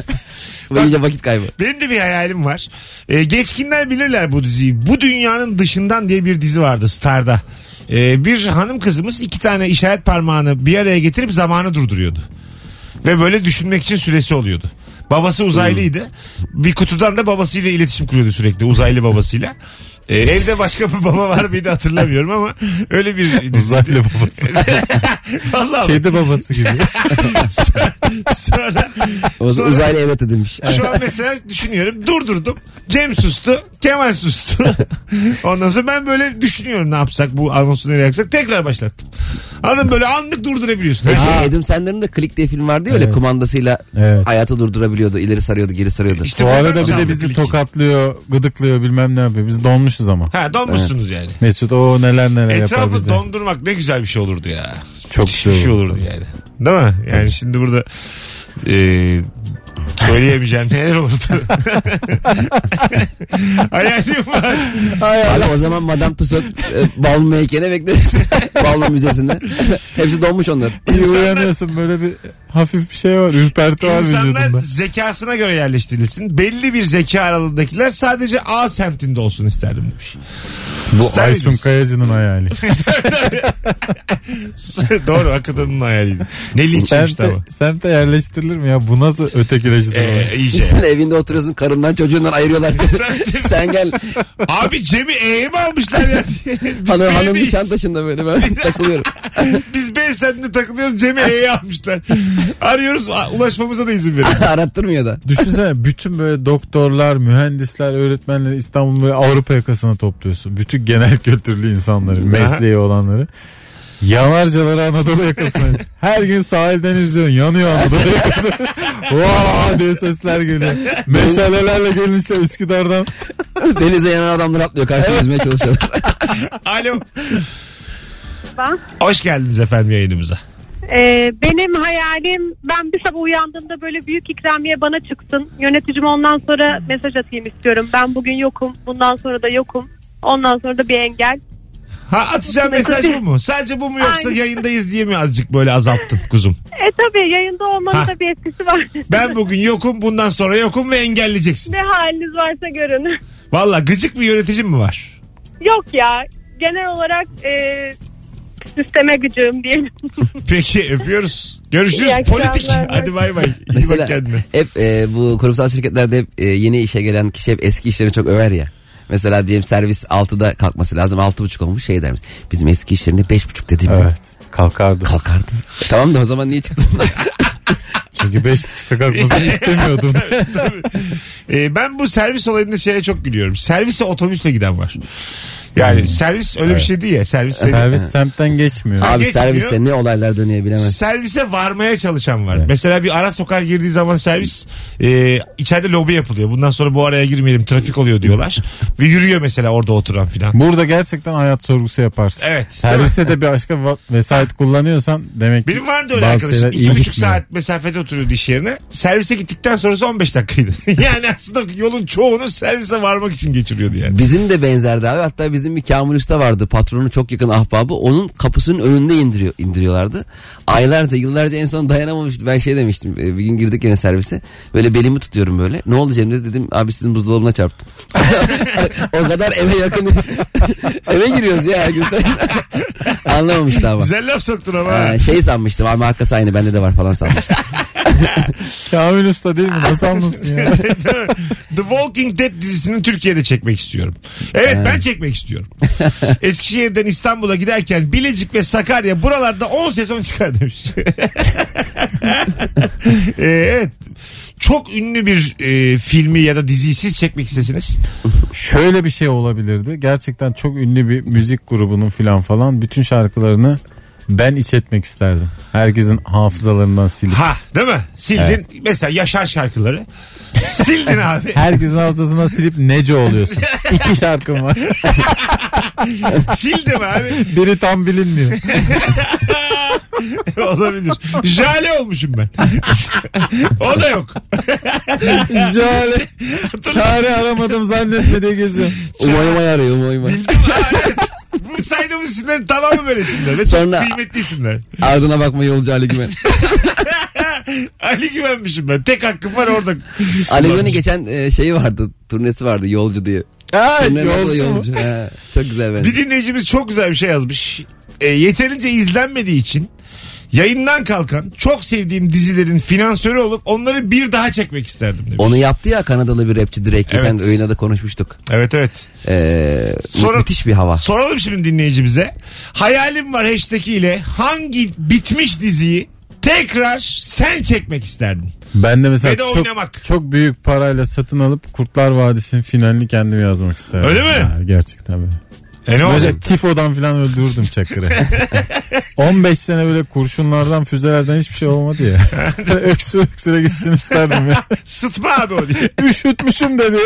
Ve iyice vakit kaybı. Benim de bir hayalim var. E, geçkinler bilirler bu diziyi. Bu dünyanın dışından diye bir dizi vardı Star'da. E, bir hanım kızımız iki tane işaret parmağını bir araya getirip zamanı durduruyordu. Ve böyle düşünmek için süresi oluyordu. Babası uzaylıydı. Hmm. Bir kutudan da babasıyla iletişim kuruyordu sürekli uzaylı babasıyla. E, evde başka bir baba var mıydı hatırlamıyorum ama öyle bir diziydi. Uzaylı babası. [laughs] Vallahi bak. Kedi [laughs] babası gibi. Sonra, O Sonra- zaman uzaylı evet demiş. şu an mesela düşünüyorum. Durdurdum. Cem sustu. Kemal [laughs] sustu. Ondan sonra ben böyle düşünüyorum ne yapsak bu anonsu nereye yaksak. Tekrar başlattım. Anladın böyle anlık durdurabiliyorsun. E Her şey, şeyi. Adam Sandler'ın da Click diye film vardı ya öyle kumandasıyla Evet. hayatı durdurabiliyordu. ileri sarıyordu geri sarıyordu. İşte Bu buradan arada bir çaldı de bizi kliki. tokatlıyor, gıdıklıyor bilmem ne yapıyor. Biz donmuşuz ama. Ha donmuşsunuz yani. Mesut o neler neler yapar Etrafı bize. dondurmak ne güzel bir şey olurdu ya. Çok Müthiş bir güzel şey olurdu yani. Değil mi? Yani şimdi burada e, [laughs] söyleyemeyeceğim neler olurdu. Hayalim var. Abi o zaman Madame Tussauds e, [laughs] bal meyken'e bekleriz. Balma müzesinde. [laughs] Hepsi donmuş onlar. İyi uyanıyorsun böyle bir hafif bir şey var. Ürperti var İnsanlar vücudunda. zekasına göre yerleştirilsin. Belli bir zeka aralığındakiler sadece A semtinde olsun isterdim şey. demiş. Bu İster Aysun miydiniz? Kayacı'nın hayali. Doğru akıdının hayaliydi. Ne linçmiş semte, tamam. semte yerleştirilir mi ya? Bu nasıl ötekileştirme? şey Ee, iyice. Sen evinde oturuyorsun karından çocuğundan ayırıyorlar seni. Sen gel Abi Cem'i E'ye mi almışlar ya? Biz hanım, hanım B'deyiz. Nişantaşı'nda böyle ben takılıyorum. [laughs] [laughs] Biz B semtinde takılıyoruz Cem'i E'ye almışlar. Arıyoruz a- ulaşmamıza da izin [laughs] verin. Arattırmıyor da. Düşünsene bütün böyle doktorlar, mühendisler, öğretmenleri İstanbul'un böyle Avrupa yakasına topluyorsun. Bütün genel kültürlü insanları, mesleği olanları. Yanarcaları Anadolu yakasına. Her gün sahilden izliyorsun. Yanıyor [laughs] Anadolu yakası. Vaa diye sesler geliyor. Meşalelerle gelmişler Üsküdar'dan. [laughs] Denize yanan adamlar atlıyor karşıya [laughs] yüzmeye çalışıyorlar. Alo. Ben. Hoş geldiniz efendim yayınımıza. Ee, benim hayalim ben bir sabah uyandığımda böyle büyük ikramiye bana çıksın. Yöneticim ondan sonra mesaj atayım istiyorum. Ben bugün yokum. Bundan sonra da yokum. Ondan sonra da bir engel. Ha atacağım mesaj bu mu? Sadece bu mu yoksa Aynen. yayındayız diye mi azıcık böyle azalttın kuzum? E tabi yayında olmanın Ha. da bir etkisi var. Ben bugün yokum bundan sonra yokum ve [laughs] engelleyeceksin. ne haliniz varsa görün. Valla gıcık bir yöneticim mi var? [laughs] Yok ya genel olarak e, sisteme gücüm diyelim. Peki öpüyoruz. Görüşürüz. İyi akşamlar. Politik. Hadi bay bay. İyi bak Mesela kendine. hep e, bu kurumsal şirketlerde hep e, yeni işe gelen kişi hep eski işleri çok över ya. Mesela diyelim servis 6'da kalkması lazım. 6.30 olmuş şey dermiş. Bizim eski işlerinde 5.30 dediğim gibi Evet. Kalkardı. kalkardı. E, tamam da o [laughs] zaman niye çıktın? Çünkü beş buçukta kalkmasını [laughs] istemiyordum. Ee, ben bu servis olayında şeye çok gülüyorum. Servise otobüsle giden var. Yani servis öyle bir şey değil ya. Servis Servis semtten geçmiyor. Abi Geçmiyor. serviste ne olaylar dönüyor bilemez. Servise varmaya çalışan var. Mesela bir ara sokağa girdiği zaman servis e, içeride lobi yapılıyor. Bundan sonra bu araya girmeyelim trafik oluyor diyorlar. Ve yürüyor mesela orada oturan filan. Burada gerçekten hayat sorgusu yaparsın. Evet. Serviste de bir başka va- vesayet kullanıyorsan demek ki Benim vardı öyle bazı arkadaşım. şeyler İki iyi buçuk gitmiyor. saat mesafede oturuyordu iş yerine. Servise gittikten sonrası 15 dakikaydı. [laughs] yani aslında yolun çoğunu servise varmak için geçiriyordu yani. Bizim de benzerdi abi. Hatta bizim bir Kamil Usta vardı. Patronu çok yakın ahbabı. Onun kapısının önünde indiriyor indiriyorlardı. Aylarca, yıllarca en son dayanamamıştı. Ben şey demiştim. e, Bir gün girdik yine servise. Böyle belimi tutuyorum böyle. Ne oldu Cemre dedim. Abi sizin buzdolabına çarptım. [laughs] o kadar eve yakın. [laughs] eve giriyoruz ya her gün. [laughs] Anlamamıştı ama. Güzel laf soktun ama. Ha, şey sanmıştım ama arkası aynı bende de var falan [laughs] sanmıştım. Kamil Usta değil mi? Nasıl [laughs] anlasın ya? The Walking Dead dizisini Türkiye'de çekmek istiyorum. Evet ben çekmek istiyorum. [laughs] Eskişehir'den İstanbul'a giderken Bilecik ve Sakarya buralarda 10 sezon çıkar demiş. [laughs] Ee, evet. Çok ünlü bir e, filmi ya da diziyi siz çekmek istesiniz. Şöyle bir şey olabilirdi. Gerçekten çok ünlü bir müzik grubunun filan falan bütün şarkılarını ben iç etmek isterdim. Herkesin hafızalarından silip. Ha değil mi? Sildin. Mesela Yaşar şarkıları. Sildin [laughs] abi. Herkesin hafızasından silip nece oluyorsun. İki şarkım var. Sildim abi. Biri tam bilinmiyor. Olabilir. Jale olmuşum ben. [laughs] o da yok. Jale. Çare aramadım zannetmediği geziyor. Umayımay arıyor umayımay. Bildim abi. evet. Bu saydığımız isimlerin tamamı böyle isimler. Ve Sonra- çok kıymetli isimler. Ardına bakma yolcu Ali Güven. Ali güvenmişim ben. Tek hakkım var orada. Ali Güven'in geçen e, şeyi vardı. Turnesi vardı yolcu diye. Ha, Turnenin adı da yolcu mu? yolcu. He, çok güzel bence. Bir dinleyicimiz çok güzel bir şey yazmış. E, yeterince izlenmediği için yayından kalkan çok sevdiğim dizilerin finansörü olup onları bir daha çekmek isterdim demiş. Onu yaptı ya Kanadalı bir rapçi direkt. Geçen Evet. öğüne de konuşmuştuk. Evet evet. Ee, Sonra- müthiş bir hava. Soralım şimdi dinleyicimize. Hayalim var hashtag ile hangi bitmiş diziyi tekrar sen çekmek isterdin? Ben de mesela Ve de çok, oynamak. çok büyük parayla satın alıp Kurtlar Vadisi'nin finalini kendim yazmak isterdim. Öyle mi? Ha, gerçekten böyle. E ne Böyle olacak? tifodan falan öldürdüm çakırı. [laughs] 15 sene böyle kurşunlardan füzelerden hiçbir şey olmadı ya. [laughs] [laughs] öksüre öksüre gitsin isterdim ya. Sıtma abi o diye. [laughs] Üşütmüşüm dedi.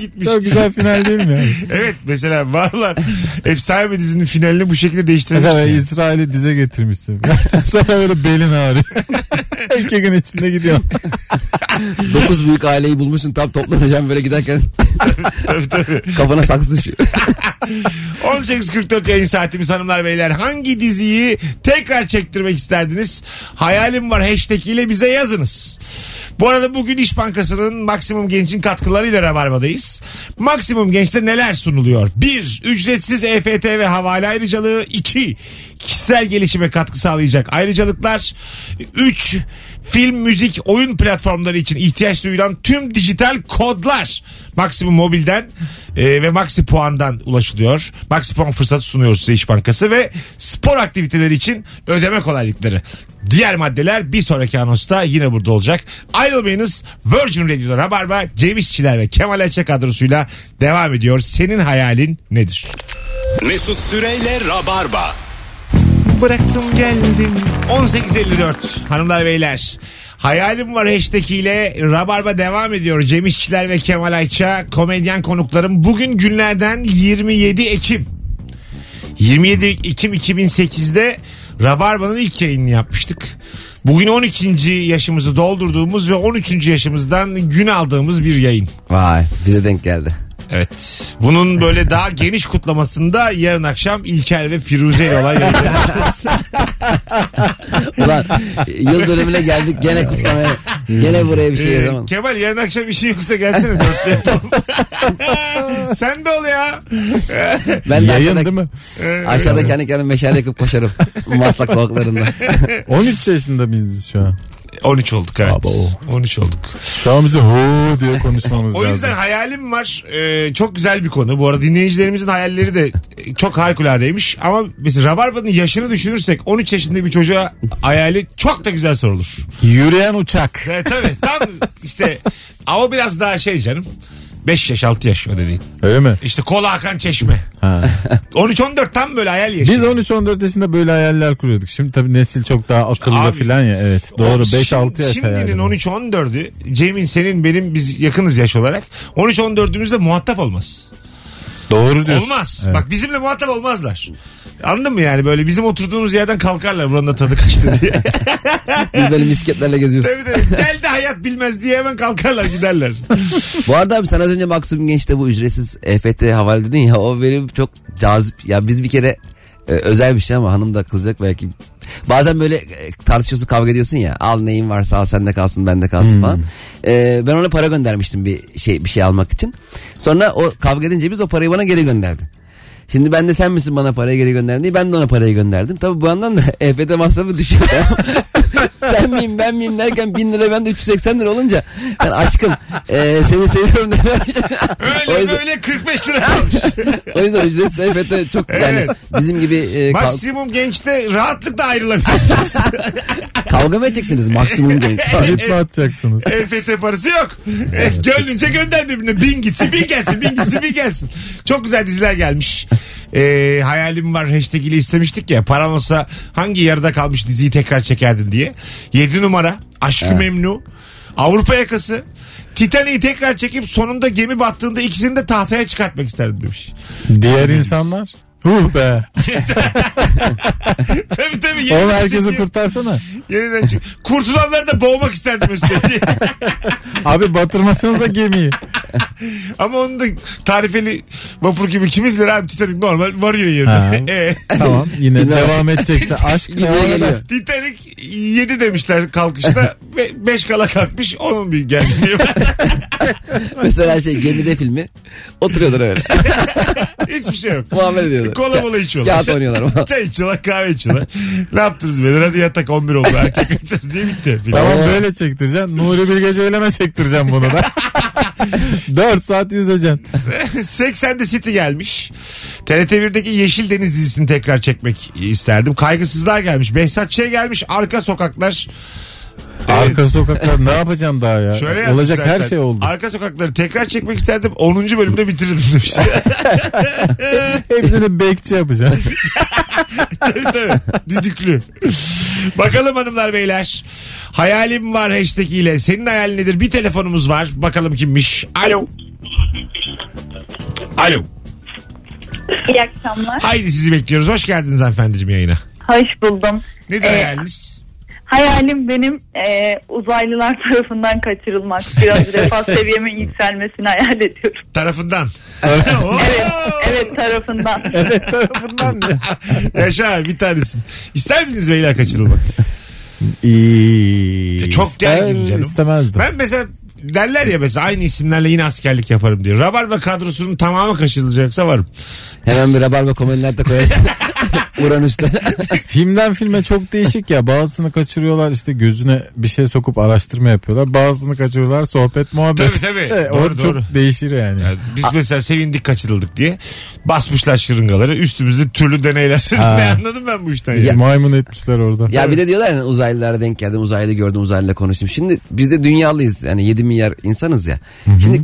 Gitmiş. Çok güzel final değil mi? yani? Evet mesela varlar. Efsane bir dizinin finalini bu şekilde değiştirmişsin. Mesela İsrail'i dize getirmişsin. [laughs] Sonra böyle belin [laughs] ağrıyor. İki gün içinde [laughs] gidiyor. Dokuz büyük aileyi bulmuşsun tam toplanacağım böyle giderken [laughs] [laughs] Tabii, tabii. kafana saksı düşüyor. 18.44 yayın saatimiz hanımlar beyler. Hangi diziyi tekrar çektirmek isterdiniz? Hayalim var hashtag ile bize yazınız. Bu arada bugün İş Bankası'nın Maksimum Genç'in katkılarıyla Rabarba'dayız. Maksimum Genç'te neler sunuluyor? 1. Ücretsiz EFT ve havale ayrıcalığı. 2. Kişisel gelişime katkı sağlayacak ayrıcalıklar. 3. Film, müzik, oyun platformları için ihtiyaç duyulan tüm dijital kodlar Maksimum Mobil'den e, ve Maxi Puan'dan ulaşılıyor. Maxi Puan fırsatı sunuyor size İş Bankası ve spor aktiviteleri için ödeme kolaylıkları. Diğer maddeler bir sonraki anonsta yine burada olacak. Ayrılmayınız. Virgin Radio'da Rabarba, Cem İşçiler ve Kemal Ayça kadrosuyla devam ediyor. Senin hayalin nedir? Mesut Süreyle Rabarba. Bıraktım geldim. 18.54 hanımlar beyler. Hayalim var hashtag ile Rabarba devam ediyor. Cem İşçiler ve Kemal Ayça komedyen konuklarım. Bugün günlerden 27 Ekim. 27 Ekim 2008'de Rabarba'nın ilk yayınını yapmıştık. Bugün 12. yaşımızı doldurduğumuz ve 13. yaşımızdan gün aldığımız bir yayın. Vay bize denk geldi. Evet. Bunun böyle daha geniş kutlamasında yarın akşam İlker ve Firuze ile olan yayın. Ulan yıl dönümüne geldik gene kutlamaya. Gene buraya bir şey Ee, yazamam. Kemal yarın akşam işin yoksa gelsene dörtte [laughs] yapalım. Sen de ol ya. Ben de Yayın aşağıda, değil mi? aşağıda kendi kendime meşale yakıp koşarım. Maslak sokaklarında. 13 yaşında mıyız biz şu an? 13 olduk evet. Abo. 13 olduk. Şu an bize ho diye konuşmamız O yüzden lazım. hayalim var. Ee, çok güzel bir konu. Bu arada dinleyicilerimizin hayalleri de e, çok harikuladeymiş. Ama mesela Rabarba'nın yaşını düşünürsek 13 yaşında bir çocuğa hayali çok da güzel sorulur. Yürüyen uçak. Evet E, tabii tam işte ama biraz daha şey canım. 5 yaş 6 yaş o dediğin. Öyle mi? İşte kola akan çeşme. Ha. 13-14 tam böyle hayal yaşı. Biz 13-14 yaşında böyle hayaller kuruyorduk. Şimdi tabii nesil çok daha akıllı Abi, filan ya. Evet O doğru şim- 5-6 yaş hayali. Şimdinin 13-14'ü Cem'in senin benim biz yakınız yaş olarak 13-14'ümüzde muhatap olmaz. Doğru diyorsun. Olmaz. Evet. Bak bizimle muhatap olmazlar. Anladın mı yani böyle bizim oturduğumuz yerden kalkarlar buranın da tadı kaçtı [laughs] diye. Biz böyle misketlerle geziyoruz. tabii tabii geldi hayat bilmez diye hemen kalkarlar [laughs] giderler. Bu arada abi sen az önce Maksimum Genç'te bu ücretsiz EFT havale dedin ya o benim çok cazip. Ya biz bir kere e, özel bir şey ama hanım da kızacak belki. Bazen böyle e, tartışıyorsun kavga ediyorsun ya al neyin varsa al sende kalsın bende kalsın falan. E, ben ona para göndermiştim bir şey bir şey almak için. Sonra o kavga edince biz o parayı bana geri gönderdi. Şimdi ben de sen misin bana parayı geri gönderdin diye ben de ona parayı gönderdim. Tabi bu yandan da [laughs] EFT masrafı düşüyor. sen miyim ben miyim derken 1000 lira ben de 380 lira olunca ben aşkım e, seni seviyorum demiş. o, Öyle yüzden, böyle 45 lira kalmış. E, o yüzden ücretsiz EFT çok yani Evet. bizim gibi e, kav- Maksimum gençte rahatlıkla ayrılabilirsiniz. kavga mı edeceksiniz [laughs] maksimum genç? Trip E, mi atacaksınız? EFT parası yok. E, Gönlünce gönder birbirine. Bin gitsin bin gelsin bin gitsin bin gelsin. Çok güzel diziler gelmiş. Ee, hayalim var hashtag ile istemiştik ya. Param olsa hangi yarıda kalmış diziyi tekrar çekerdin diye. 7 numara Aşkı Memnu. Avrupa yakası. Titanic'i tekrar çekip sonunda gemi battığında ikisini de tahtaya çıkartmak isterdim demiş. [laughs] Diğer insanlar? Huh be. tabii tabii. yeniden Oğlum herkesi çekiyor. kurtarsana. Yeniden çek. Kurtulanları da boğmak isterdim üstelik. Abi [laughs] batırmasanıza gemiyi. Ama onun da tarifeli vapur gibi kimiz lira abi Titanic normal varıyor [laughs] Ha. yerine. E, Tamam yine Bilmem. devam edecekse aşk ne Gidiyor olur. geliyor. Titanic 7 demişler [laughs] kalkışta. 5 kala kalkmış onun bir gelmiyor. Mesela şey gemide filmi oturuyorlar [laughs] öyle. [laughs] Hiçbir şey yok. Muhabbet ediyorlar. Kola Ka- mola içiyorlar. Kağıt oynuyorlar falan. [laughs] Çay içiyorlar kahve içiyorlar. ne yaptınız beyler hadi yatak 11 oldu erkek kaçacağız diye bitti. Film. [laughs] Tamam böyle çektireceksin. Nuri Bilge Ceylan'a çektireceğim bunu da. 4 saat yüzeceksin. 80'de City gelmiş. TRT1'deki Yeşil Deniz dizisini tekrar çekmek isterdim. Kaygısızlar gelmiş. Behzat Ç. gelmiş. Arka sokaklar. Arka sokaklar ne yapacağım daha ya? Şöyle yapmış Olacak her zaten. şey oldu. Arka sokakları tekrar çekmek isterdim. [laughs] 10. bölümde bitirirdim demiş. [laughs] Hepsini bekçi yapacağım. tabii tabii. Düdüklü. Bakalım hanımlar beyler. Hayalim var hashtag ile. Senin hayalin nedir? Bir telefonumuz var. Bakalım kimmiş. Alo. Alo. İyi akşamlar. Haydi sizi bekliyoruz. Hoş geldiniz hanımefendiciğim yayına. Hoş buldum. Nedir Ee, hayaliniz? Hayalim benim e, uzaylılar [laughs] tarafından kaçırılmak. Biraz refah seviyemin yükselmesini hayal ediyorum. Tarafından. Evet, evet tarafından. evet tarafından ne? [laughs] Yaşa bir tanesin. İster miydiniz beyler kaçırılmak? İyi. Çok İster, gergin canım. istemezdim. Ben mesela derler ya mesela aynı isimlerle yine askerlik yaparım diyor. Rabarba kadrosunun tamamı kaçırılacaksa varım. Hemen bir rabarba komediler [laughs] de koyarsın. Uranüs'te. Filmden filme çok değişik ya. Bazısını kaçırıyorlar işte gözüne bir şey sokup araştırma yapıyorlar. Bazısını kaçırıyorlar sohbet muhabbet. Tabii, tabii. [laughs] E, Doğru, o çok doğru. değişir yani. Yani biz mesela sevindik kaçırıldık diye basmışlar şırıngaları üstümüzde türlü deneyler. Ha. ne anladım [laughs] ben bu işten ya? Bizi maymun etmişler orada. Ya bir de diyorlar ya uzaylılara denk geldim uzaylı gördüm uzaylıyla konuştum. Şimdi biz de dünyalıyız yani 7 milyar insanız ya. Şimdi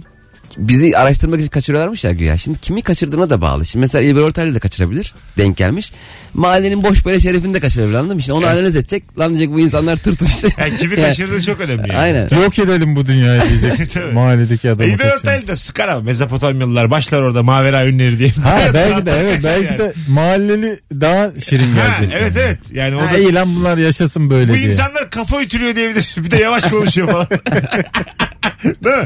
bizi araştırmak için kaçırıyorlarmış ya güya. Şimdi kimi kaçırdığına da bağlı. Şimdi mesela İlber Ortaylı da kaçırabilir. Denk gelmiş. Mahallenin boş böyle şerefini de kaçırabilir anladın mı? Şimdi onu analiz edecek. Lan diyecek bu insanlar tırtmış. Yani [laughs] kimi kaçırdığı çok önemli. Yani. Aynen. Yok edelim bu dünyayı diyecek [laughs] Tabii. mahalledeki adamı İlber kaçırmış. Ortaylı da sıkar ama Mezopotamyalılar başlar orada Mavera ünleri diye. [laughs] Ha belki de Adam evet kaçar belki yani. de mahalleli daha şirin Ha, gelecek. evet evet. Yani o Ha, da- iyi şey lan bunlar yaşasın böyle bu diye. insanlar kafa ütülüyor diyebilir. [laughs] Bir de yavaş konuşuyor falan. Değil mi?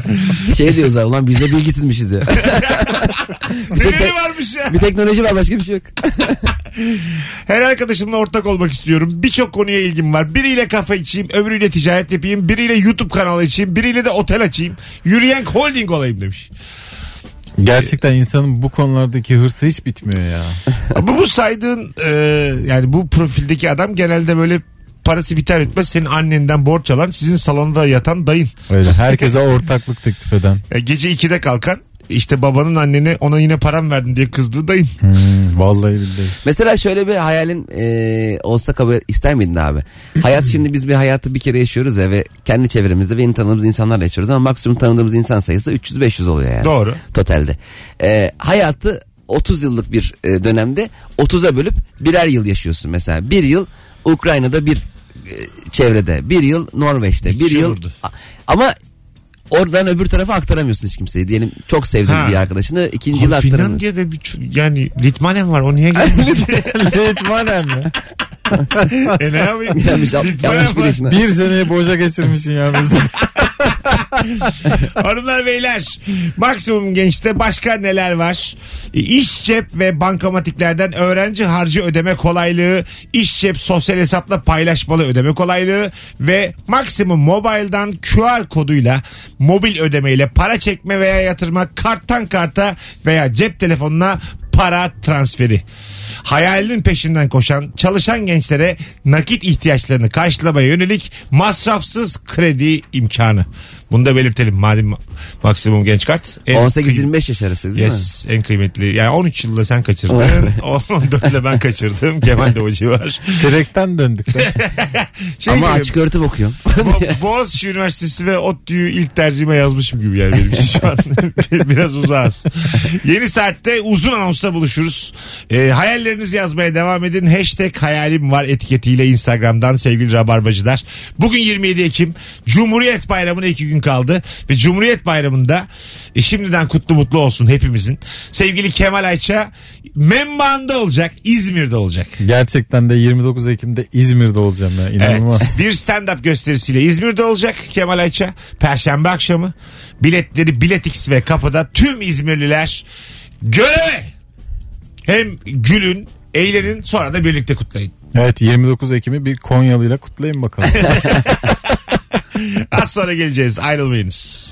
Şey diyor uzaylı ulan biz de bilgisizmişiz ya. [laughs] Neleri varmış ya? bir teknoloji var başka bir şey yok. Her arkadaşımla ortak olmak istiyorum. Birçok konuya ilgim var. Biriyle kafa içeyim, öbürüyle ticaret yapayım, biriyle YouTube kanalı açayım, biriyle de otel açayım. Yürüyen holding olayım [laughs] demiş. Gerçekten insanın bu konulardaki hırsı hiç bitmiyor ya. Ama bu saydığın e, yani bu profildeki adam genelde böyle parası biter bitmez senin annenden borç alan, sizin salonda yatan dayın. Öyle herkese ortaklık teklif eden. E, gece 2'de kalkan işte babanın annene ona yine param verdin diye kızdığı [laughs] dayın. Hmm, vallahi billahi. Mesela şöyle bir hayalin e, olsa kabul ister miydin abi? Hayat şimdi biz bir hayatı bir kere yaşıyoruz ya ve kendi çevremizde ve yeni tanıdığımız insanlarla yaşıyoruz ama maksimum tanıdığımız insan sayısı 300-500 oluyor yani. Doğru. Totalde. E, hayatı 30 yıllık bir e, dönemde 30'a bölüp birer yıl yaşıyorsun mesela. Bir yıl Ukrayna'da bir e, çevrede, bir yıl Norveç'te, bir, şey yıl... vurdu. A- Ama oradan öbür tarafa aktaramıyorsun hiç kimseyi. Diyelim çok sevdim Ha. bir arkadaşını ikinci yıl Abi aktaramıyorsun. [laughs] Finlandiya'da bir ç- yani Litmanen var o niye gelmedi? Litmanen mi? e ne yapayım? [laughs] Gelmiş, yap- Litmanen yapmış bir var. yaşına. Bir seneyi boşa geçirmişsin ya mesela. [laughs] Hanımlar beyler maksimum gençte başka neler var? E, İş cep ve bankamatiklerden öğrenci harcı ödeme kolaylığı, iş cep sosyal hesapla paylaşmalı ödeme kolaylığı ve maksimum mobilden QR koduyla mobil ödemeyle para çekme veya yatırma karttan karta veya cep telefonuna para transferi. Hayalinin peşinden koşan çalışan gençlere nakit ihtiyaçlarını karşılamaya yönelik masrafsız kredi imkanı. Bunu da belirtelim madem maksimum genç kart. En kıym- 18-25 yaş arası değil mi? Yes en kıymetli. Yani 13 yılda sen kaçırdın. [laughs] 14 ile ben kaçırdım. Kemal de o civar. Direkten döndük. lan. Şey Ama gibi, açık öğretim okuyorum. [laughs] Bo- Boğaziçi Üniversitesi ve ODTÜ'yü ilk tercihime yazmışım gibi yani benim için şu an. [laughs] Bir- Biraz uzağız. Yeni saatte uzun anonsla buluşuruz. Ee, hayallerinizi yazmaya devam edin. Hashtag hayalim var etiketiyle Instagram'dan sevgili Rabarbacılar. Bugün 27 Ekim Cumhuriyet Bayramı'na iki gün kaldı. Ve Cumhuriyet Bayramı'nda e, şimdiden kutlu mutlu olsun hepimizin. Sevgili Kemal Ayça Membanda olacak. İzmir'de olacak. Gerçekten de 29 Ekim'de İzmir'de olacağım ya. İnanılmaz. Evet. Bir stand-up gösterisiyle İzmir'de olacak Kemal Ayça. Perşembe akşamı. Biletleri Biletix ve kapıda tüm İzmirliler göreve. Hem gülün, eğlenin sonra da birlikte kutlayın. Evet 29 Ekim'i bir Konyalı'yla kutlayın bakalım. Az sonra geleceğiz ayrılmayınız.